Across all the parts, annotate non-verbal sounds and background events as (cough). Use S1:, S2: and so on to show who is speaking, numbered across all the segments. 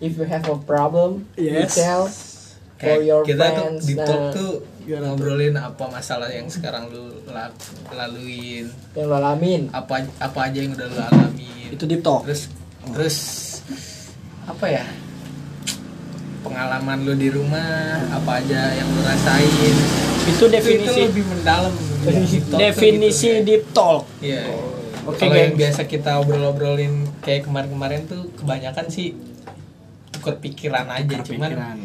S1: if you have a problem you
S2: Yes.
S1: tell for your
S3: Kayak kita tuh
S1: friends
S3: di talk
S1: nah,
S3: tuh
S2: Gimana tuh?
S3: ngobrolin apa masalah yang sekarang lu la- laluin,
S1: yang lo alamin
S3: apa apa aja yang udah lu alamin.
S2: Itu deep talk.
S3: Terus terus apa ya? Pengalaman lu di rumah, apa aja yang lu rasain.
S2: Itu
S3: Itu,
S2: definisi
S3: itu lebih mendalam. Deep talk tuh
S2: definisi
S3: gitu,
S2: deep talk.
S3: kayak- Iya.
S2: Oke,
S3: Kalau yang
S2: gengs.
S3: biasa kita obrol-obrolin kayak kemarin-kemarin tuh kebanyakan sih tukar pikiran aja, cuman
S2: Pikiran.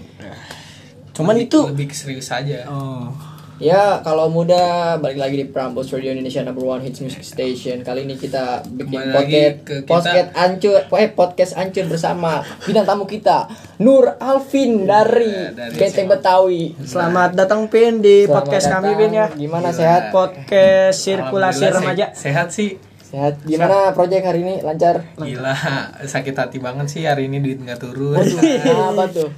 S2: Cuman
S3: lebih-
S2: itu
S3: lebih serius aja.
S2: oh,
S1: Ya, kalau muda balik lagi di Prambors Radio Indonesia number one hits music station. Kali ini kita bikin podcast
S3: Kembali lagi ke kita.
S1: podcast ancur, eh podcast ancur bersama bintang tamu kita Nur Alvin dari,
S3: Ya, dari
S1: Benteng
S3: SMA.
S1: Betawi.
S2: selamat datang Pin di
S1: Selamat
S2: podcast kami
S1: datang.
S2: Pin ya.
S1: Gimana
S3: Gila.
S1: sehat?
S2: Podcast sirkulasi
S3: Alhamdulillah
S2: remaja.
S3: se- sehat sih.
S1: Sehat. Gimana proyek hari ini? Lancar?
S3: Gila, sakit hati banget sih hari ini duit nggak turun. Nah,
S1: Apa tuh?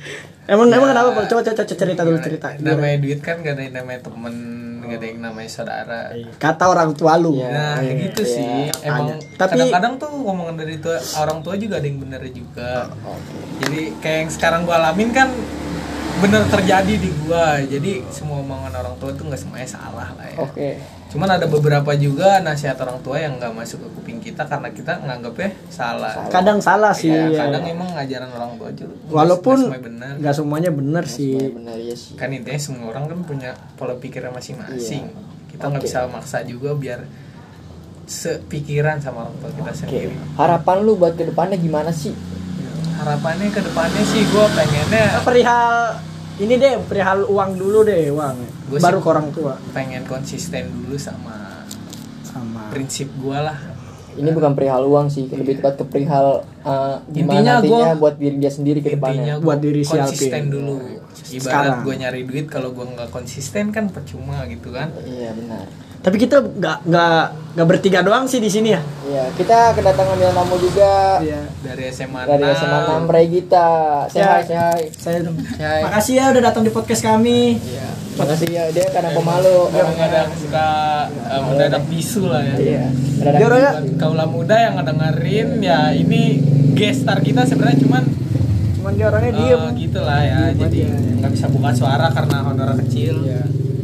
S2: Emang
S3: Ya.
S2: emang kenapa? Pak? Coba coba coba cerita dulu cerita.
S3: Namanya duit kan gak ada yang namanya temen, gak ada yang namanya saudara.
S2: Kata orang tua lu.
S1: Iya.
S3: Nah, kayak gitu
S1: Iya.
S3: sih. Emang
S2: Tapi-
S3: kadang-kadang tuh omongan dari tua, orang tua juga ada yang bener juga. Jadi kayak yang sekarang gua alamin kan bener terjadi di gua. Jadi semua omongan orang tua tuh nggak semuanya salah lah ya.
S1: Oke.
S3: Cuman ada beberapa juga nasihat orang tua yang nggak masuk ke kuping kita karena kita nganggapnya salah.
S2: Kadang salah sih.
S3: Ya,
S2: ya.
S3: kadang emang ngajaran orang tua aja nggak-
S2: Walaupun-
S3: nggak semuanya benar
S2: nggak semuanya bener
S1: Ya,
S2: sih.
S1: benar ya sih.
S3: kan intinya semua orang kan punya pola pikirnya masing-masing
S2: Iya.
S3: kita nggak bisa maksa juga biar sepikiran sama orang tua kita
S1: Oke.
S3: sendiri
S1: Harapan lu buat kedepannya gimana sih?
S3: harapannya ke depannya sih gue pengennya
S2: Perihal ini deh, perihal uang dulu deh, uang.
S3: Gua
S2: Baru ke
S3: sih-
S2: orang tua
S3: pengen konsisten dulu sama
S2: sama
S3: prinsip gue lah
S1: Ini bukan perihal uang sih, lebih tepat ke perihal eh,
S3: Intinya
S1: gimana
S3: gua-
S1: nantinya buat diri dia sendiri ke depannya.
S3: intinya gua
S2: Buat diri si Alvin.
S3: konsisten dulu
S2: Sekarang.
S3: ibarat gue nyari duit kalau gue nggak konsisten kan percuma gitu kan
S1: Iya benar.
S2: Tapi kita nggak nggak nggak bertiga doang sih di sini ya.
S1: Iya, kita kedatangan bintang tamu juga
S2: Iya.
S3: dari SMA
S1: dari SMA 6 Ray Gita. Sehat, sehat.
S2: Saya
S1: Sehat.
S2: Makasih ya udah datang di podcast kami.
S1: Iya. Makasih ya dia karena
S3: Iya.
S1: pemalu orangnya.
S3: kadang-kadang suka eh, mendadak bisu lah
S1: Iya.
S3: ya
S2: Dia
S1: Kadang-kadang
S2: orangnya
S3: buat kaula muda yang ngedengerin ya ini gestar kita sebenarnya cuman
S2: cuman dia orangnya diem.
S3: eh, gitu lah ya jadi
S2: aja. Iya.
S3: nggak bisa buka suara karena honor kecil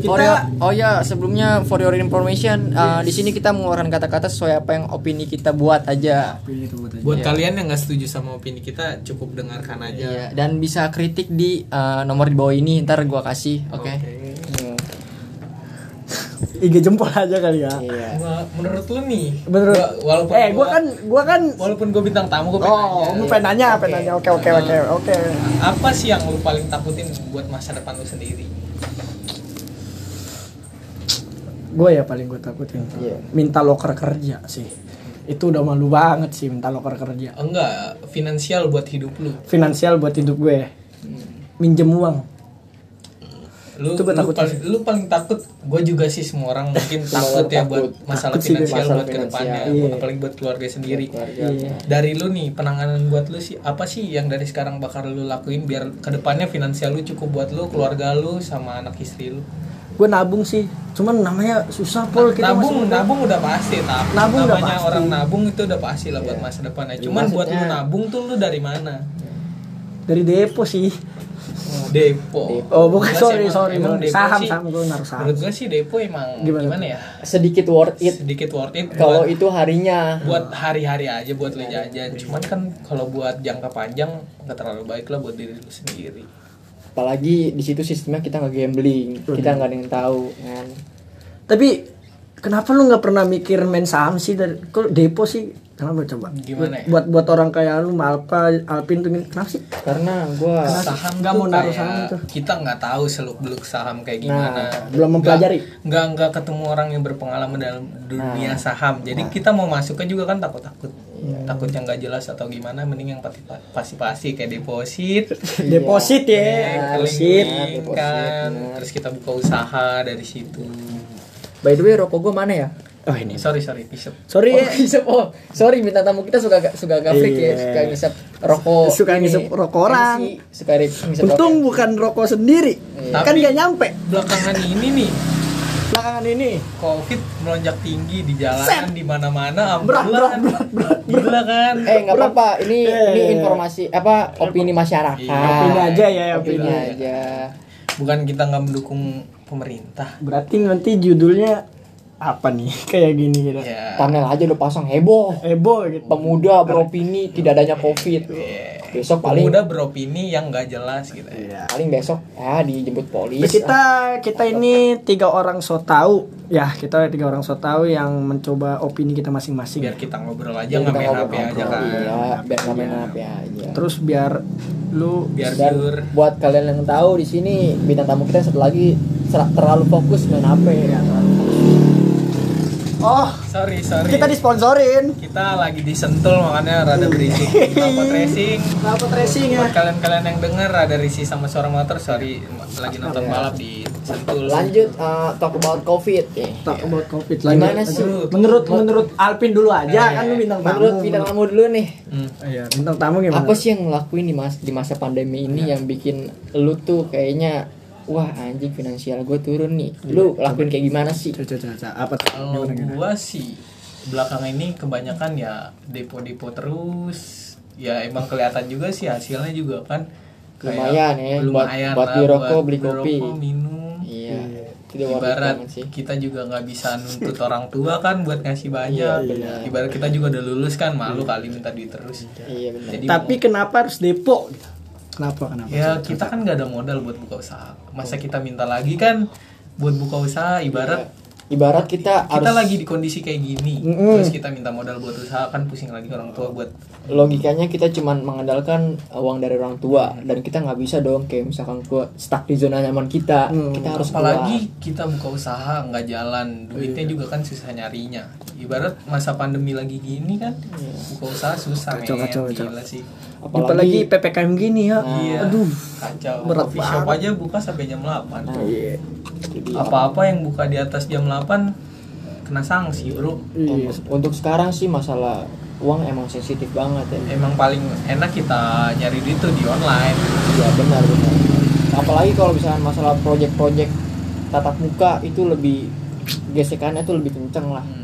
S1: Oh
S2: Kita
S1: ya, oh ya, sebelumnya for your information, uh, di sini kita mengeluarkan kata-kata sesuai apa yang opini kita buat aja.
S2: Iya. gitu.
S3: buat kalian yang nggak setuju sama opini kita cukup dengarkan aja
S1: Iya, dan bisa kritik di uh, nomor di bawah ini, ntar gua kasih, oke? Hmm.
S2: IG jempol aja kali ya.
S1: Iya.
S3: Wah, menurut lu nih
S2: Menurut
S3: gua- iya, walaupun
S2: Eh, gua kan gua kan
S3: walaupun gue bintang tamu gue pengen
S2: Oh,
S3: nanya,
S2: gua pengen nanya, pengen nanya. Oke,
S1: Nah.
S2: oke, oke, oke.
S3: apa sih yang lu paling takutin buat masa depan lu sendiri
S2: Gue ya paling gue takutin.
S1: Iya.
S2: Minta loker kerja sih. Itu udah malu banget sih minta loker kerja.
S3: enggak finansial buat hidup lu
S2: Finansial buat hidup gue.
S3: Hmm.
S2: Minjem uang.
S3: lu
S2: Itu gua
S3: lu
S2: takutin
S3: paling, lu paling takut gue juga sih semua orang mungkin takut ya buat masalah
S2: Takut sih gua.
S3: finansial
S1: Masalah
S3: buat kedepannya
S2: finansial. Iya.
S3: apalagi buat keluarga sendiri
S2: Iya.
S3: dari lu nih penanganan buat lu sih apa sih yang dari sekarang bakal lu lakuin biar kedepannya finansial lu cukup buat lu keluarga lu sama anak istri lu
S2: Gue nabung sih. Cuman namanya susah pol kita masih
S3: nabung
S2: muda.
S3: nabung udah pasti tapi
S2: Nabung udah
S3: namanya
S2: pasti.
S3: orang nabung itu udah pasti lah buat masa depannya cuman buat lu nabung tuh lu dari mana
S2: dari depo sih.
S3: depo
S2: Oh, bukan
S3: Enggak sih,
S2: sorry,
S3: emang-
S2: sorry.
S3: emang
S2: sorry.
S3: depo
S2: Saham,
S3: sih-
S2: saham gue naruh saham.
S3: menurut gue sih depo emang
S2: Gimana?
S3: gimana, ya
S1: Sedikit worth
S2: Iya.
S1: it
S3: sedikit worth it
S1: kalau
S3: buat-
S1: itu harinya.
S3: buat hari-hari aja buat lo jajan cuman kan kalau buat jangka panjang nggak terlalu baik lah buat diri lu sendiri
S1: apalagi di situ sistemnya kita nggak gambling kita nggak ada yang tahu kan
S2: Tapi kenapa lu nggak pernah mikir main saham sih dari kok depo sih? Kenapa coba?
S3: Gimana ya? Iya.
S2: Buat buat orang kayak lu Malpa, Alpin tuh gini, kenapa sih?
S1: karena gua
S2: Ah.
S3: saham
S2: nggak
S3: tuh
S2: mau naruh
S3: kayak
S2: saham tuh.
S3: kita nggak tahu seluk beluk saham kayak gimana
S2: Nah, belum mempelajari. Nah.
S3: nggak nggak nggak ketemu orang yang berpengalaman dalam dunia saham jadi kita mau masuknya juga kan takut takut
S2: Hmm.
S3: takut yang nggak jelas atau gimana mending yang pasti pasti kayak deposit
S1: iya.
S2: Deposit ya,
S3: Iya,
S2: deposit.
S3: link kan terus kita buka usaha dari situ
S1: by the way rokok gua mana ya
S2: Oh ini.
S3: sorry sorry pisep
S2: Sorry
S1: oh, (laughs)
S2: ya.
S1: ngisep oh sorry bintang tamu kita suka ga- suka gak freak ya
S2: Iya.
S1: suka ngisep rokok
S2: Suka
S1: ini,
S2: ngisep rokok orang.
S1: MC, suka ri- ngisep
S2: Untung
S1: rokok
S2: bukan rokok sendiri.
S3: Iya.
S2: Kan
S3: Tapi-
S2: nggak nyampe.
S3: belakangan ini nih
S2: belakangan ini
S3: covid melonjak tinggi di
S2: Set.
S3: jalanan di mana-mana
S2: Berat,
S3: gila
S2: berat,
S3: kan?
S2: berat, berat,
S3: gila kan
S1: eh nggak apa-apa ini
S2: Iya,
S1: ini
S2: iya, iya.
S1: informasi apa opini masyarakat
S3: Iya.
S2: opini aja ya opini
S1: opini aja
S3: bukan kita nggak mendukung pemerintah
S2: berarti nanti judulnya apa nih (laughs) kayak gini kira
S3: ya
S1: thumbnail aja udah pasang heboh
S2: heboh gitu
S1: pemuda beropini tidak adanya covid besok paling
S3: pemuda beropini yang nggak jelas gitu ya
S2: Iya.
S1: paling besok ah dijemput
S3: Iya.
S1: polis Ah,
S2: kita kita ini tiga orang so tahu ya kita tiga orang so tahu yang mencoba opini kita masing-masing
S3: biar kita ngobrol aja
S1: Biar kita
S3: nggak main HP
S1: ngobrol-ngobrol.
S3: aja kan
S1: iya biar nggak main HP aja
S2: terus biar lu
S3: biar
S1: dan
S3: pure
S1: buat kalian yang tahu di sini bintang tamu kita satu lagi ser- terlalu fokus main HP ya
S2: oh
S3: sorry sorry
S2: kita disponsorin
S3: kita lagi disentul makanya rada berisik kenapa racing
S2: kenapa tracing ya
S3: buat kalian-kalian yang dengar rada risih sama suara motor sorry lagi nonton balap di sentul
S1: lanjut eh, talk about covid Eh,
S2: Talk about covid
S1: Gimana
S2: Lanjut.
S1: sih?
S2: menurut menurut Alvin dulu aja kan lu bintang tamu
S1: menurut bintang tamu dulu nih
S3: Hmm.
S2: iya bintang tamu gimana
S1: apa sih yang ngelakuin di mas- di masa pandemi ini
S3: Iya.
S1: yang bikin lu tuh kayaknya wah anjing finansial gue turun nih
S3: Iya.
S1: lu lakuin kayak gimana sih
S2: Coba, coba, coba. apa tuh?
S1: Oh,
S3: Kalau gua sih belakangan ini kebanyakan ya depo-depo terus. Ya emang kelihatan juga sih hasilnya juga kan.
S1: Lumayan ya, buat-
S3: lumayan
S1: buat
S3: lah,
S1: beli rokok, beli kopi.
S3: rokok, minum.
S1: iya tidak worth it
S3: Ibarat
S1: banget sih Iya,
S3: kita juga nggak
S1: (laughs)
S3: bisa nuntut orang tua kan buat ngasih banyak. Ibarat kita juga udah lulus kan malu kali minta duit terus.
S1: iya benar
S3: Jadi
S2: tapi kenapa harus depo Iya. kenapa kenapa
S3: ya kita kan nggak ada modal buat buka usaha. Masa kita minta lagi kan buat buka usaha ibarat
S1: Iya. ibarat kita,
S3: kita
S1: harus
S3: lagi di kondisi kayak gini terus kita minta modal buat usaha kan pusing lagi orang tua buat
S1: logikanya kita cuman mengandalkan eh, uang dari orang tua dan kita nggak bisa dong kayak misalkan gua stuck di zona nyaman kita kita harus
S3: apalagi kita buka usaha nggak jalan
S2: Iya.
S3: duitnya juga kan susah nyarinya ibarat masa pandemi lagi gini kan
S2: Iya.
S3: buka usaha susah
S2: Kacau,
S3: men.
S2: kacau, kacau.
S3: Gila sih
S1: keluar. apalagi
S2: apalagi ppkm gini ya
S3: iya
S2: aduh
S3: kacau
S2: berat
S3: coffee shop aja buka sampai jam 8
S2: iya
S1: Nah, jadi
S3: apa-apa yang buka di atas jam 8 kena sanksi bro
S2: Iya.
S1: untuk sekarang sih masalah uang emang sensitif banget ya
S3: emang paling enak kita nyari duit tuh di online
S1: Iya benar benar. Apalagi kalau misalkan masalah proyek-proyek tatap muka itu lebih gesekannya tuh lebih kenceng lah.
S3: Hmm.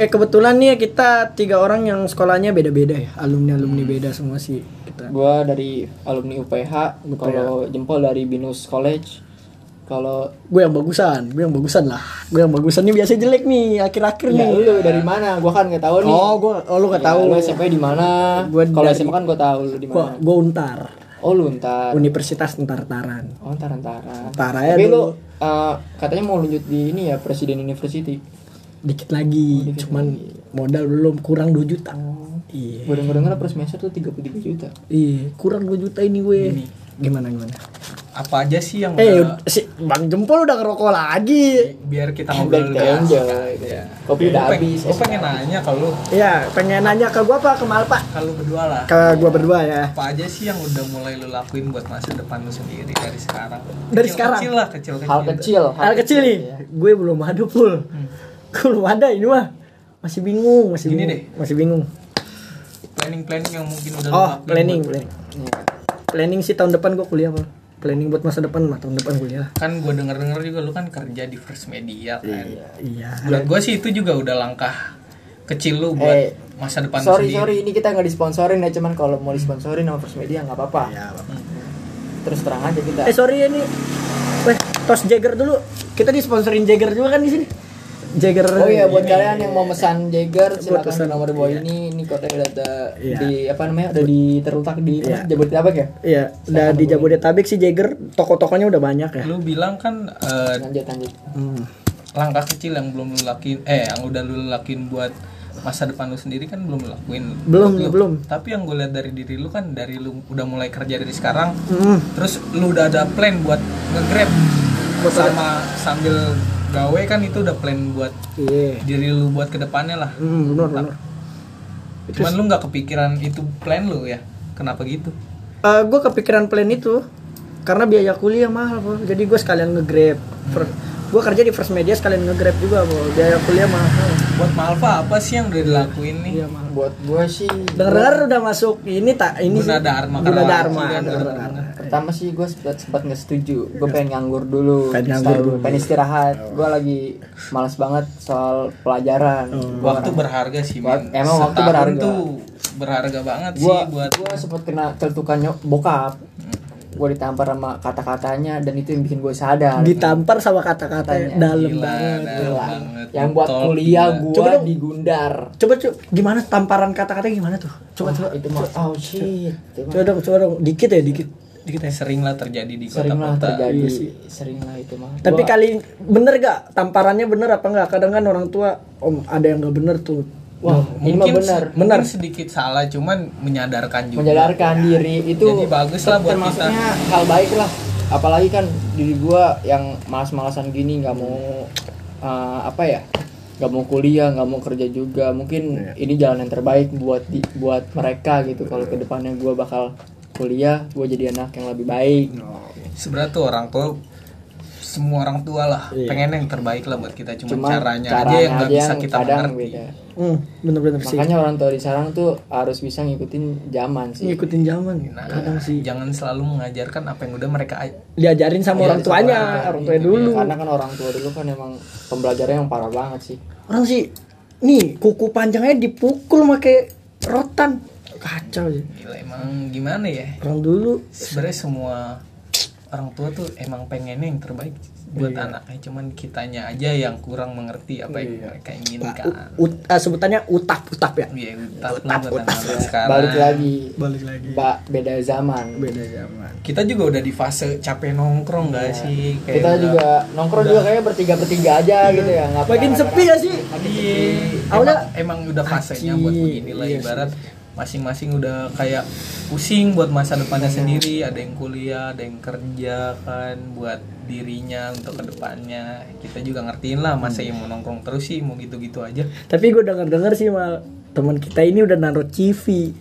S2: eh kebetulan nih ya kita tiga orang yang sekolahnya beda-beda ya alumni alumni beda semua sih kita
S1: Gua dari alumni UPH,
S2: UPH.
S1: kalau jempol dari Binus College, kalau
S2: gue yang bagusan gue yang bagusan lah gue yang bagusan nih biasanya jelek nih akhir-akhir
S1: ya,
S2: nih
S1: lu dari mana? Gua kan nggak tahu nih.
S2: oh gue oh, Iya, lu gak
S1: Ya,
S2: tahu
S1: Lu SMP di mana?
S2: Gua
S1: Kalau
S2: dari-
S1: SMA kan gua tahu lu di
S2: gue
S1: mana.
S2: gue untar
S1: Oh lu ntar.
S2: Universitas Ntar-Taran
S1: Oh ntar antara.
S2: Ntar aja
S1: Tapi lu
S2: dulu.
S1: eh, katanya mau lanjut di ini ya Presiden University.
S2: Oh, dikit lagi cuman modal belum kurang 2 juta iya
S1: Gue denger denger per semester tuh 33 juta.
S2: iya kurang 2 juta ini gue gimana gimana
S3: apa aja sih yang
S2: eh
S3: udah-
S2: si bang jempol udah ngerokok lagi
S3: biar kita
S1: Udah
S3: ngobrol
S1: kita
S3: lebih asik
S1: enjoy.
S3: Iya.
S1: Kopi udah
S3: Gua peng-
S1: habis.
S3: gua pengen nanya kalau
S2: ya pengen nanya ke gue apa ke Malpa
S3: kalau berdua lah
S2: ke gue berdua ya
S3: apa aja sih yang udah mulai lu lakuin buat masa depan lu sendiri dari sekarang
S2: Dari
S3: Kecil-
S2: sekarang?
S3: kecil lah kecil kecil
S1: hal kecil
S2: hal kecil iya. Hmm. nih gue belum ada full gue belum ada ini mah masih bingung masih
S3: Gini
S2: bingung
S3: deh.
S2: masih bingung
S3: planning planning yang mungkin udah lu
S2: oh
S3: lakuin
S2: planning
S3: buat-
S2: planning
S1: Iya.
S2: planning sih tahun depan gue kuliah Bang. planning buat masa depan mah tahun depan kuliah
S3: kan gue denger denger juga lu kan kerja di first media kan
S2: iya
S3: buat gue sih itu juga udah langkah kecil lu buat
S1: Eh,
S3: masa depan lu
S1: sorry
S3: sendiri
S1: sorry ini kita nggak disponsorin ya cuman kalau mau disponsorin sama First Media nggak apa-apa
S2: Iya.
S1: terus terang aja kita
S2: Ya, Eh sorry ya nih. Weh, tos Jagger dulu. Kita disponsorin Jagger juga kan di sini. Jagger.
S1: oh iya buat kalian yang mau pesan Jagger silakan
S2: pesan,
S1: di nomor di bawah
S2: iya.
S1: ini ini kode udah ada
S2: Iya.
S1: di apa namanya udah di terletak di
S2: Iya.
S1: mana? Jabodetabek ya
S2: Iya, udah di Jabodetabek sih Jagger, toko-tokonya udah banyak ya.
S3: lu bilang kan eh,
S1: lanjut lanjut
S2: Hmm.
S3: langkah kecil yang belum lu lakuin eh yang udah lu lakuin buat masa depan lu sendiri kan belum lu lakuin
S2: Belum,
S3: Lu-
S2: belum.
S3: tapi yang gue lihat dari diri lu kan dari lu udah mulai kerja dari sekarang
S2: Hmm.
S3: terus lu udah ada plan buat nge-grab sama sambil gawe kan itu udah plan buat
S2: Iya.
S3: diri lu buat kedepannya lah
S2: Hmm, benar benar.
S3: cuman lu nggak kepikiran itu plan lu ya kenapa gitu
S2: Eh gue kepikiran plan itu karena biaya kuliah mahal, Bro. Jadi gue sekalian nge-grab. Gue kerja di First Media sekalian nge-grab juga, Bro. Biaya kuliah mahal.
S3: buat Malva apa sih yang udah dilakuin nih
S2: Iya, Mal.
S1: buat gua sih
S2: Dengar udah masuk ini tak ini
S3: Guna Dharma
S2: Guna Dharma.
S3: Karawaci dan
S2: Guna
S3: Dharma.
S2: Dharma.
S1: pertama sih gue sempat sempat nggak setuju gue pengen nganggur dulu
S4: Pengen nganggur
S1: setahun.
S4: dulu.
S1: pengen istirahat
S2: Oh.
S1: gue lagi malas banget soal pelajaran
S2: Oh.
S1: Gua
S3: waktu berharga sih
S1: Wak-
S3: men.
S1: emang waktu
S3: Setahun
S1: berharga.
S3: tuh berharga banget
S1: gua
S3: sih buat
S1: gua sempat kena celtukan nyok bokap gue ditampar sama kata-katanya dan itu yang bikin gue sadar
S2: Ditampar sama kata-kata
S1: Tanya.
S2: dalam
S3: Gila,
S2: banget.
S3: dalam
S1: Gila.
S3: banget.
S1: yang buat
S3: Betul,
S1: kuliah
S3: gila.
S2: Coba
S1: gue
S2: dong.
S1: digundar
S2: Coba coba gimana tamparan kata-kata gimana tuh? Coba coba.
S1: Wah, itu mah oh shit Itu mah
S2: Coba dong, coba dong. Dikit ya, dikit. Dikit ya.
S3: seringlah terjadi di
S1: sering lah
S3: kota-kota
S1: terjadi
S2: Iya sih.
S1: sering lah itu mah
S2: Tapi
S1: Gua-
S3: kan-
S2: kali bener gak tamparannya bener apa enggak? Kadang kan orang tua om ada yang gak bener tuh.
S1: wah ini mah
S3: Nah, mungkin
S1: benar
S3: se- mungkin sedikit salah cuman menyadarkan juga
S1: menjadarkan diri itu
S3: Nah, Jadi bagus lah buat kita.
S1: termasuknya hal baik lah apalagi kan diri gua yang malas-malasan gini nggak mau eh, apa ya nggak mau kuliah nggak mau kerja juga mungkin
S3: Iya.
S1: ini jalan yang terbaik buat di- buat mereka gitu kalau kedepannya gua bakal kuliah gua jadi anak yang lebih baik
S3: Nah, sebenarnya tuh orang tua semua orang tua lah
S1: Iya.
S3: pengen yang terbaik lah buat kita cuma,
S1: cuma
S3: caranya, aja yang nggak bisa kita
S1: kadang
S3: mengerti
S1: beda.
S2: Hmm, bener-bener sih.
S1: makanya orang tua di sekarang tuh harus bisa ngikutin zaman sih
S2: ngikutin zaman
S3: Nah,
S2: kadang sih
S3: jangan selalu mengajarkan apa yang udah mereka aj-
S2: diajarin sama orang tuanya orang tua dulu
S1: karena kan orang tua dulu kan emang pembelajarannya yang parah banget sih
S2: orang sih nih kuku panjangnya dipukul pakai rotan kacau sih
S3: gila emang gimana ya
S2: orang dulu
S3: sebenarnya semua orang tua tuh emang pengennya yang terbaik buat anaknya cuman kitanya aja yang kurang mengerti apa yang mereka inginkan
S2: ut- eh, sebutannya utak utap ya
S3: iya utap lah buat anak sekarang
S1: balik lagi
S2: balik lagi
S1: Ba- beda zaman
S2: beda zaman
S3: kita juga udah di fase capek nongkrong gak sih Kayak
S1: kita
S3: udah-
S1: juga nongkrong juga kayaknya bertiga bertiga aja gitu ya nggak
S2: Iya. makin
S1: pernah-
S2: sepi ya sih
S3: Iya,
S2: Awalnya- Iya
S3: emang, emang udah fasenya buat begini lah ibarat masing-masing udah kayak pusing buat masa depannya
S2: Iya.
S3: sendiri ada yang kuliah ada yang kerja kan buat dirinya untuk kedepannya kita juga ngertiin lah masa yang
S2: Iya.
S3: mau nongkrong terus sih mau gitu-gitu aja
S2: tapi gue denger dengar sih mal teman kita ini udah naruh CV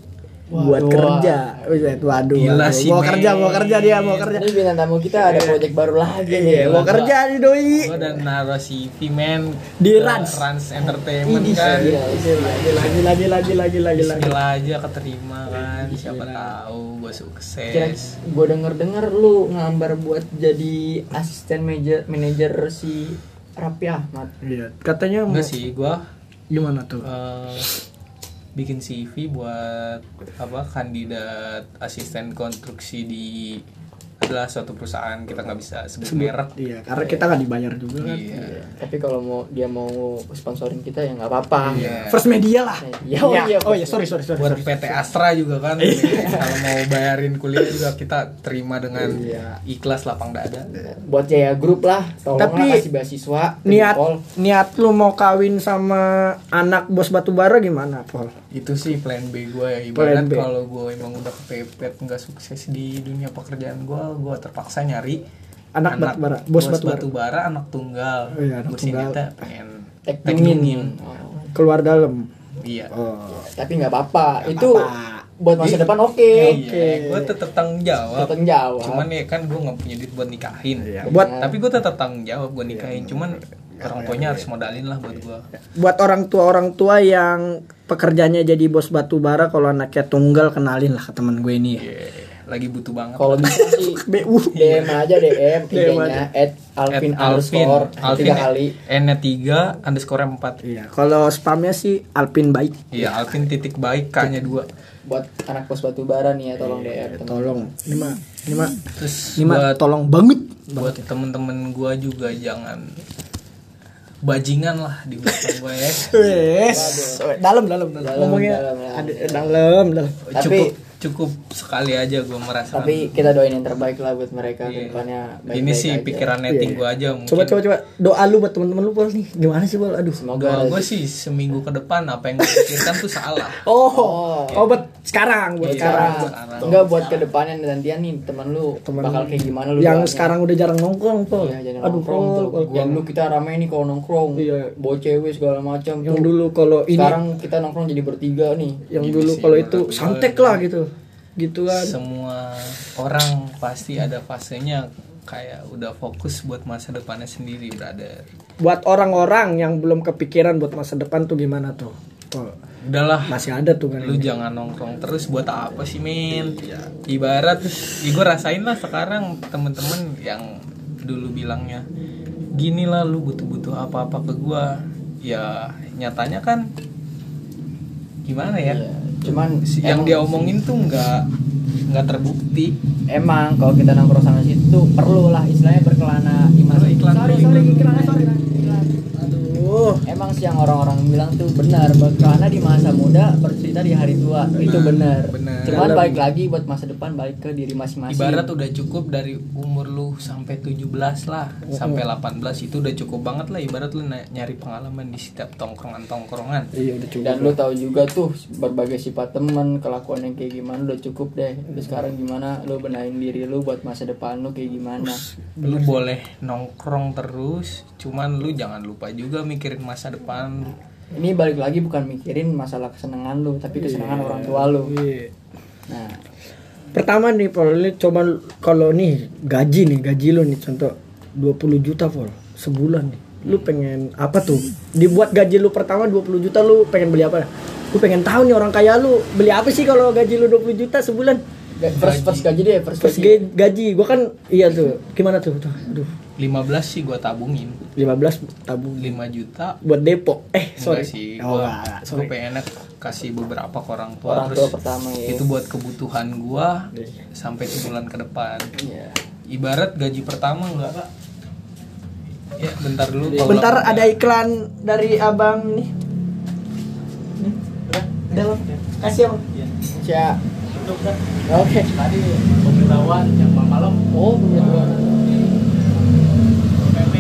S2: buat kerja Buset, waduh,
S3: Gila
S2: waduh.
S3: sih,
S2: mau
S3: men.
S2: kerja mau kerja dia mau kerja
S1: ini bintang tamu kita ada project baru lagi gitu. nih
S2: Iya, mau kerja nih doi
S3: gua dan naruh CV man
S2: Iya. Di
S3: ke
S2: Rans.
S3: Rans Entertainment kan
S2: lagi lagi lagi lagi lagi lagi
S3: Bismillah aja keterima kan siapa tahu gua sukses
S1: gue denger denger lu ngambar buat jadi asisten manajer manajer si Raffi Ahmad
S2: Iya, katanya mau-
S3: enggak sih gua
S2: gimana tuh?
S3: eh bikin CV buat apa kandidat asisten konstruksi di adalah suatu perusahaan kita nggak bisa sebut merek
S2: Iya, karena kita nggak dibayar juga kan.
S3: iya
S1: tapi kalau mau dia mau sponsorin kita ya nggak apa-apa
S2: First media lah.
S1: Iya,
S2: oh
S1: iya.
S2: iya, oh iya, sorry sorry sorry.
S3: buat
S2: sorry.
S3: PT Astra juga kan
S2: Iya.
S3: kalau mau bayarin kuliah juga kita terima dengan
S2: Iya.
S3: ikhlas lapang dada
S1: buat Jaya Group lah tolonglah
S2: Tapi-
S1: kasih beasiswa
S2: Niat
S1: Paul.
S2: niat lu mau kawin sama anak bos batubara gimana, Pol?
S3: itu sih plan B gue ya
S2: Plan
S3: ibarat
S2: B.
S3: kalau gue emang udah kepepet nggak sukses di dunia pekerjaan gue gue terpaksa nyari
S2: Anak batubara, bos batubara.
S3: batubara, anak tunggal
S2: Oh iya, anak
S3: gue sini
S2: tunggal.
S3: teh pengen
S1: Tek
S3: tek
S1: Dingin.
S3: dingin.
S1: Oh.
S2: Keluar dalam.
S3: iya
S2: Oh.
S1: tapi nggak apa-apa itu
S2: apa-apa.
S1: buat masa depan oke
S3: iya gue tetap tanggung jawab
S1: Tetap jawab.
S3: cuman ya kan gue nggak punya duit buat nikahin
S2: Buat
S3: tapi gue tetap tanggung jawab gue nikahin cuman orang tuanya harus modalin lah buat gue
S2: buat orang tua orang tua yang pekerjaannya jadi bos batubara kalau anaknya tunggal kenalin lah ke teman gue ini ya.
S3: lagi butuh banget
S1: kalau bisa sih
S2: BU.
S1: DM aja
S2: (laughs)
S1: DM
S2: aja.
S1: IG-nya at Alvin underscore tiga kali
S3: n nya tiga underscore empat
S2: Iya, kalau spamnya sih Alpin baik.
S3: iya Alvin titik baik k nya dua
S1: buat anak pos batu bara nih ya tolong DM teman.
S2: Iya, Tolong, ini mah, ini mah,
S3: terus
S2: ini mah
S3: buat
S2: tolong banget.
S3: buat temen-temen gue juga jangan bajingan lah di belakang gue ya
S2: Wes, dalam dalam dalam. Ngomongnya
S1: dalam, dalam.
S2: ada- eh, dalam dalam.
S3: cukup
S1: Tapi-
S3: cukup sekali aja gue merasakan
S1: tapi kita doain yang terbaik lah buat mereka
S3: Kan- Iya.
S1: kedepannya baik
S3: ini sih pikiran
S2: Iya.
S3: netting gue aja mungkin
S2: Coba coba coba doa lu buat teman-teman lu Pol nih. Gimana sih Pol? Aduh.
S1: semoga
S3: Doa gue sih seminggu ke depan apa yang gue pikirkan tuh salah
S2: Oh, Iya. oh buat sekarang, buat sekarang.
S1: sekarang enggak buat kedepannya nantian nih teman lu
S2: Temen
S1: bakal
S2: lu.
S1: kayak gimana lu
S2: Yang
S1: doanya.
S2: sekarang udah jarang nongkrong
S3: Oh,
S2: Pol.
S1: Iya, jangan
S2: Aduh
S1: nongkrong
S2: Pol.
S1: tuh.
S2: Pol.
S1: yang
S3: gitu.
S1: dulu kita rame nih kalau nongkrong
S2: Iya.
S1: bawa cewek segala macam
S2: Yang
S1: tuh.
S2: dulu kalau ini,
S1: sekarang kita nongkrong jadi bertiga nih
S2: yang
S3: Gini
S2: dulu
S3: sih, ya,
S2: kalau
S3: menurut
S2: itu
S3: gue.
S2: santek lah gitu. Gitu kan.
S3: semua orang pasti ada fasenya kayak udah fokus buat masa depannya sendiri brother
S2: Buat orang-orang yang belum kepikiran buat masa depan tuh gimana tuh? Tuh,
S3: udahlah
S2: masih ada tuh kan.
S3: lu jangan nongkrong terus buat apa sih min ibarat ya gue rasain lah sekarang temen-temen yang dulu bilangnya gini lah lu butuh-butuh apa-apa ke gue ya nyatanya kan gimana
S1: Iya,
S3: ya
S1: Cuman
S3: Si- yang
S1: emang-
S3: dia omongin tuh nggak nggak terbukti
S1: emang kalau kita nongkrong sama situ perlu lah istilahnya berkelana iman.
S3: Perlu iklan,
S1: sorry,
S3: perlu
S1: sorry,
S3: iklan.
S1: iklannya, sorry, iklan.
S2: Aduh.
S1: Emang sih yang orang-orang bilang tuh benar berkelana di masa muda bercerita di hari tua itu benar.
S3: benar.
S1: Cuman
S2: Dalam.
S1: balik lagi buat masa depan balik ke diri masing-masing.
S3: ibarat udah cukup dari umur lu sampai 17 lah
S2: Iya.
S3: sampai 18 itu udah cukup banget lah ibarat lu na- nyari pengalaman di setiap tongkrongan-tongkrongan
S2: Iya udah cukup.
S1: dan lu tahu juga tuh berbagai sifat teman kelakuan yang kayak gimana udah cukup deh lu sekarang gimana lu benahin diri lu buat masa depan lu kayak gimana
S3: lu boleh nongkrong terus cuman lu jangan lupa juga mikirin masa depan lu.
S1: ini balik lagi bukan mikirin masalah kesenangan lu tapi kesenangan orang tua lu
S2: Iya.
S1: nah
S2: Pertama nih Pol, ini coba kalau nih gaji nih, gaji lu nih contoh 20 juta Pol sebulan nih. Lu pengen apa tuh? Dibuat gaji lu pertama 20 juta lu pengen beli apa? Lu pengen tahu nih orang kaya lu beli apa sih kalau gaji lu 20 juta sebulan?
S1: ga- first first gaji deh first
S2: Terus
S1: gaji
S2: ga- gaji, gua kan iya tuh. Gimana tuh? Tuh, Aduh,
S3: 15 sih gua tabungin
S2: 15 tabung
S3: 5 juta
S2: buat Depok. Eh, sorry.
S3: Enggak sih
S2: Oh,
S3: gua,
S2: enggak, enggak,
S3: gua
S2: sorry.
S3: pengennya kasih beberapa ke orang tua
S1: orang
S3: terus
S1: tua pertama ya
S3: itu buat kebutuhan gua sampai sebulan ke depan
S1: Iya.
S3: ibarat gaji pertama enggak Kak? ya bentar dulu kalau
S2: Bentar
S3: lapar
S2: ada
S3: ya.
S2: iklan dari Abang nih. Nih,
S3: Udah?
S2: udah Bang. Kasih, Bang.
S1: Cia.
S3: Udah, udah.
S1: oke
S3: tadi pemberitahuan yang malam
S1: oh punya dua oke oke.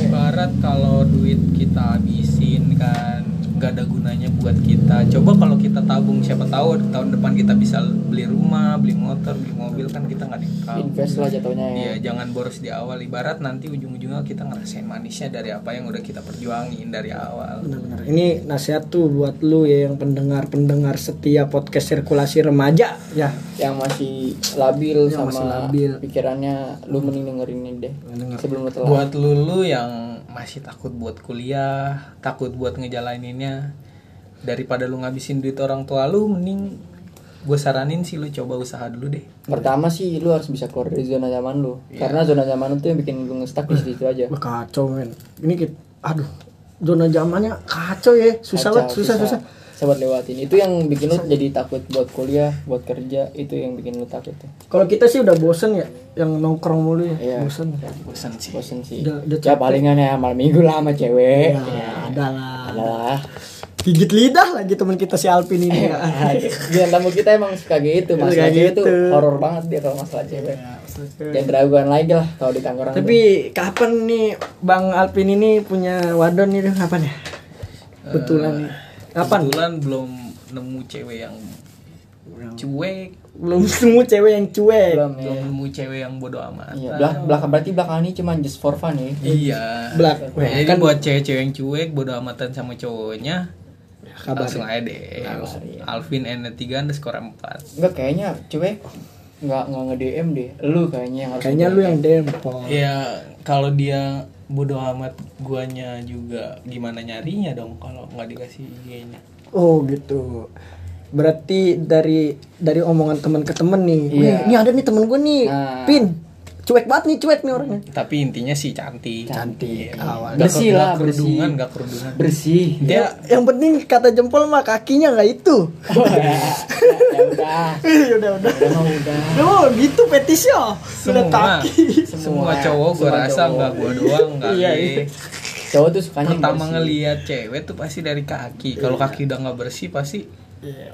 S3: ibarat kalau duit kita habisin kan nggak ada gunanya buat kita coba kalau kita tabung siapa tahu tahun depan kita bisa beli rumah beli motor beli mobil kan kita nggak dikau
S1: invest lah jatuhnya ya
S3: Iya, jangan boros di awal ibarat nanti ujung-ujungnya kita ngerasain manisnya dari apa yang udah kita perjuangin dari awal.
S2: Benar-benar. Ini nasihat tuh buat lu ya yang pendengar-pendengar setia podcast sirkulasi remaja ya.
S1: yang masih labil
S2: Yang
S1: sama
S2: masih labil.
S1: pikirannya lu mending dengerin ini deh sebelum lu telat
S3: Buat lulu yang masih takut buat kuliah, takut buat ngejalaninnya daripada lu ngabisin duit orang tua lu mending gue saranin sih lu coba usaha dulu deh.
S1: pertama sih lu harus bisa keluar dari zona nyaman lu
S2: Iya.
S1: karena zona nyaman itu yang bikin lu ngestak di situ aja
S2: Wah, kacau men. Ini kita, aduh zona zamannya kacau ya. Susah banget, susah, susah.
S1: sahabat lewatin itu yang bikin lu jadi takut buat kuliah buat kerja itu yang bikin lu takut tuh
S2: Kalau kita sih udah bosen ya yang nongkrong mulu ya.
S1: Iya.
S2: Bosen.
S3: Bosan sih.
S1: bosen sih
S2: Udah- udah
S1: ya palingan ya malam minggu lah sama cewek
S2: Ya, adalah
S1: adalah
S2: gigit lidah lagi teman kita si Alvin ini. ya.
S1: dia Iya, tamu kita emang suka gitu
S2: Suka
S1: masalah cewek
S2: gitu. Iya,
S1: tuh horor banget dia kalau masalah cewek jangan raguan lagi lah kalau di Tangerang tuh.
S2: Tapi kapan nih Bang Alvin ini punya wadon nih kapan ya? Betulan nih. Kapan?
S3: Kebetulan belum nemu cewek yang cuek,
S2: Belum semua cewek yang cuek.
S1: belum ya
S3: belum nemu cewek yang bodoh amat.
S1: Iya, belak belakang berarti belakangan ini cuman just for fun ya.
S3: Iya.
S2: Belak-
S3: Nah, Jadi buat cewek-cewek yang cuek, bodo amatan sama cowoknya, Ya,
S2: Kabar.
S3: langsung aja deh. Alvin N3 underscore 4.
S1: Enggak kayaknya cewek nggak nggak nge DM deh. Lu kayaknya yang harus.
S2: Kayaknya lu yang dempol.
S3: Ya, kalau dia bodo amat guanya juga gimana nyarinya dong kalau nggak dikasih IG-nya.
S2: Oh gitu. Berarti dari dari omongan teman ke temen nih.
S1: Iya.
S2: Nih, Ini ada nih temen gue nih.
S1: Nah.
S2: Pin. Cuek banget nih, cuek nih orangnya.
S3: Tapi intinya sih
S1: Iya.
S3: cantik. Iya,
S2: Cantik. Kawan.
S3: Nggak
S1: Bersih
S3: ke- nggak
S1: lah,
S3: kerudungan,
S1: bersih.
S3: nggak kerudungan.
S1: bersih.
S3: Dia
S2: Yang penting kata jempol mah kakinya nggak itu. (laughs)
S1: Oh, (laughs) ya, ya udah.
S2: Ih, udah udah.
S1: Udah mah udah.
S2: Oh gitu petisnya. Udah
S3: semua
S2: kaki.
S3: semua cowok gua rasa nggak gua doang nggak
S2: Iya,
S3: deh.
S2: iya.
S1: Cowok tuh sukanya yang
S3: pertama
S1: bersih.
S3: ngelihat cewek tuh pasti dari kaki kalau kaki udah nggak bersih pasti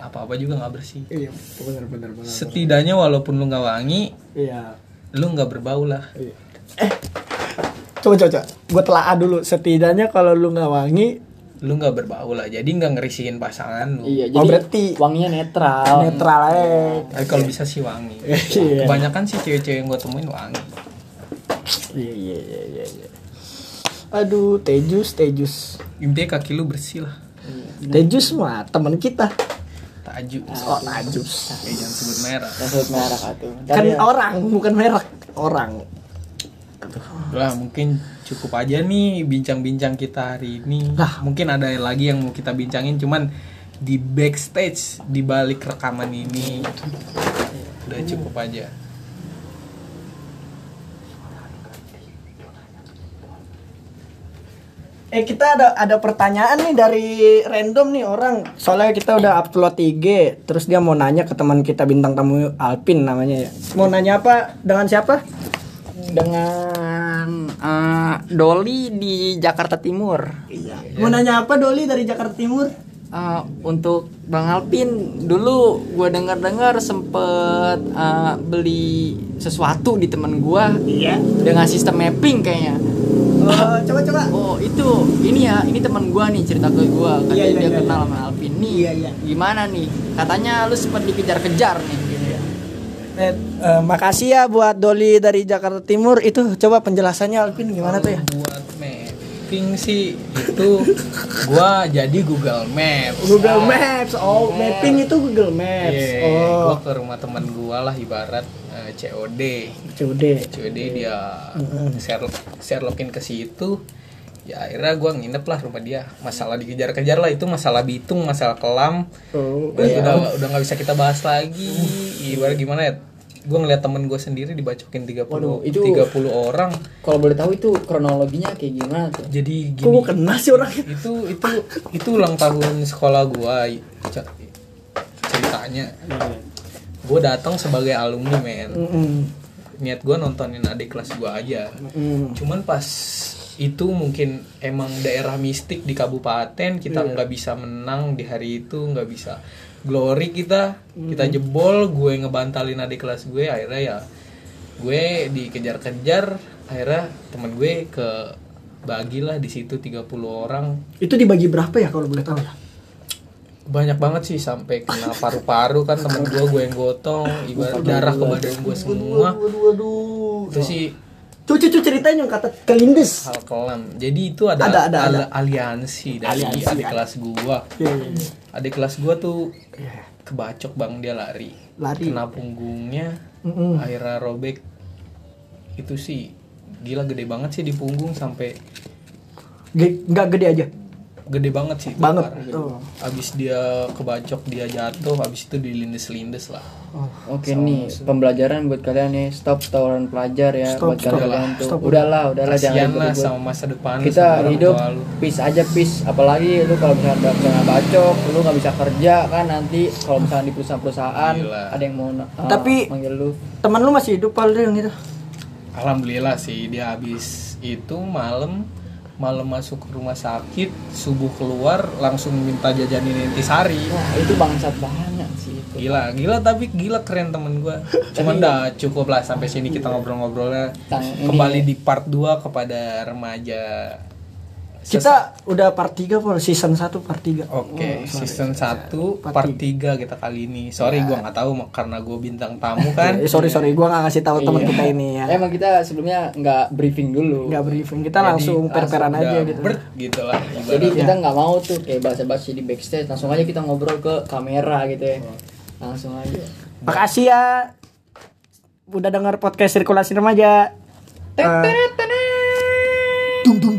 S3: apa apa juga nggak bersih
S2: Iya, benar benar benar.
S3: setidaknya walaupun lu nggak wangi
S2: Iya.
S3: lu nggak berbau lah
S2: Eh, Coba coba, coba. gue telaah dulu. Setidaknya kalau lu nggak wangi,
S3: lu nggak berbau lah jadi nggak ngerisihin pasangan lu
S1: Iya,
S2: Oh,
S1: jadi
S2: berarti-
S1: wanginya netral.
S2: netral aja.
S3: tapi Eh, kalau bisa sih wangi
S2: (laughs) Iya.
S3: kebanyakan sih cewek-cewek yang gua temuin wangi
S2: Iya iya iya iya. iya. Aduh, Tejus, Tejus.
S3: intinya kaki lu bersih lah
S2: Tejus mah teman kita.
S3: taju
S2: Oh, Tajus.
S3: Eh, jangan sebut merah
S1: Yang sebut merah tuh. ya.
S2: ya. Kan orang Kan bukan merek. orang
S3: Udah mungkin cukup aja nih bincang-bincang kita hari ini. mungkin ada lagi yang mau kita bincangin cuman di backstage di balik rekaman ini udah cukup aja.
S2: Eh kita ada ada pertanyaan nih dari random nih orang. Soalnya kita udah upload IG, terus dia mau nanya ke teman kita bintang tamu Alpin namanya ya. Mau nanya apa dengan siapa?
S1: dengan eh, Doli di Jakarta Timur.
S2: Mau nanya apa Doli dari Jakarta Timur?
S1: Eh, untuk Bang Alpin dulu gue dengar-dengar sempet eh, beli sesuatu di temen gue
S2: Iya.
S1: dengan sistem mapping kayaknya.
S2: coba coba.
S1: Oh itu ini ya ini teman gua nih cerita ke gua katanya
S2: Iya, iya,
S1: dia
S2: iya,
S1: kenal
S2: iya.
S1: sama Alvin nih
S2: Iya, iya.
S1: gimana nih katanya lu sempat dikejar-kejar nih gitu ya
S2: Eh, eh, makasih ya buat Doli dari Jakarta Timur. Itu coba penjelasannya Alpin gimana tuh ya?
S3: Buat mapping sih itu gua jadi Google Maps.
S2: Google Maps. Oh, mapping itu Google Maps.
S3: Iya,
S2: Oh.
S3: gua ke rumah teman gua lah ibarat eh, COD.
S2: COD.
S3: COD dia share Sherlockin ke situ. Ya akhirnya gua nginep lah rumah dia. Masalah dikejar-kejar lah itu masalah bitung, masalah kelam.
S2: Oh.
S1: eh,
S3: Dan udah udah nggak bisa kita bahas lagi. Ibarat gimana ya? Gue ngeliat temen gue sendiri dibacokin 30
S1: Waduh, itu-
S3: 30 orang.
S1: kalau boleh tahu itu kronologinya kayak gimana tuh
S3: Jadi
S2: Kok
S3: gini.
S2: gua kena sih orangnya?
S3: Itu itu itu ulang tahun sekolah gua ce- ceritanya. Gue datang sebagai alumni men.
S2: Mm-mm.
S3: Niat gue nontonin adik kelas gua aja.
S2: Mm.
S3: Cuman pas itu mungkin emang daerah mistik di kabupaten kita nggak bisa menang di hari itu nggak bisa glory kita kita jebol gue ngebantalin adik kelas gue akhirnya ya gue dikejar-kejar akhirnya temen gue ke bagilah di situ 30 orang
S2: Itu dibagi berapa ya kalau boleh tahu ya?
S3: banyak banget sih sampai kena paru-paru kan temen gue gue yang gotong ibarat darah ke badan gue semua itu sih
S2: Cucu cucu ceritain yang kata kelindes.
S3: hal kelam. Jadi itu ada
S2: Ada, ada, ya.
S3: al- aliansi dari adik kelas gua.
S2: Iya, iya, iya.
S3: Adik kelas gua tuh kebacok bang dia lari.
S2: Lari. Hmm.
S3: Kena punggungnya,
S2: Mm-mm.
S3: akhirnya robek. Itu sih gila gede banget sih di punggung sampai
S2: Ge- Nggak gede aja.
S3: gede banget sih. itu
S2: Banget.
S3: parah.
S2: Oh.
S3: Abis dia kebacok dia jatuh, abis itu dilindes-lindes lah.
S2: Oh.
S1: Oke nih pembelajaran buat kalian nih stop tawuran pelajar ya
S2: Stop,
S1: buat
S2: stop.
S1: kalian tuh
S2: Stop.
S1: udahlah udahlah jangan
S3: Kasian lah
S1: ribut-ribut.
S3: sama masa depan lu, Kan sama
S1: kita
S3: orang
S1: hidup
S3: tua lu.
S1: peace aja peace apalagi lu kalau misalnya nggak bisa bacok lu nggak bisa kerja kan nanti kalau misalnya di perusahaan-perusahaan
S3: Gila.
S1: ada yang mau eh,
S2: Tapi-
S1: manggil lu
S2: Teman lu masih hidup pal dia yang itu.
S3: Alhamdulillah sih dia habis itu malam malam masuk ke rumah sakit subuh keluar langsung minta jajanin intisari
S1: wah Nah, itu bangsat banget sih itu
S3: gila gila tapi gila keren temen gua
S2: Iya.
S3: cuman dah cukup lah sampai sini kita ngobrol-ngobrolnya
S1: Tang- ini-
S3: kembali di part 2 kepada remaja
S2: Kita udah part 3 pal season 1 part 3.
S3: Oke, season 1
S2: Oh, Part Iya.
S3: part 3 kita kali ini. Sorry gua nggak tahu karena gua bintang tamu kan.
S2: Eh, sorry sorry gua nggak ngasih tahu teman kita ini ya.
S1: Emang kita sebelumnya nggak briefing dulu.
S2: Nggak briefing. Kita langsung per-peran
S3: langsung
S2: aja
S3: udah
S2: gitu.
S3: bert gitu lah ibarat.
S2: Iya.
S1: Jadi kita nggak mau tuh kayak bahasa-bahasa di backstage. Langsung aja kita ngobrol ke kamera gitu ya. Langsung aja.
S2: Makasih ya. Eh. Udah dengar podcast sirkulasi remaja. Eh, dung dung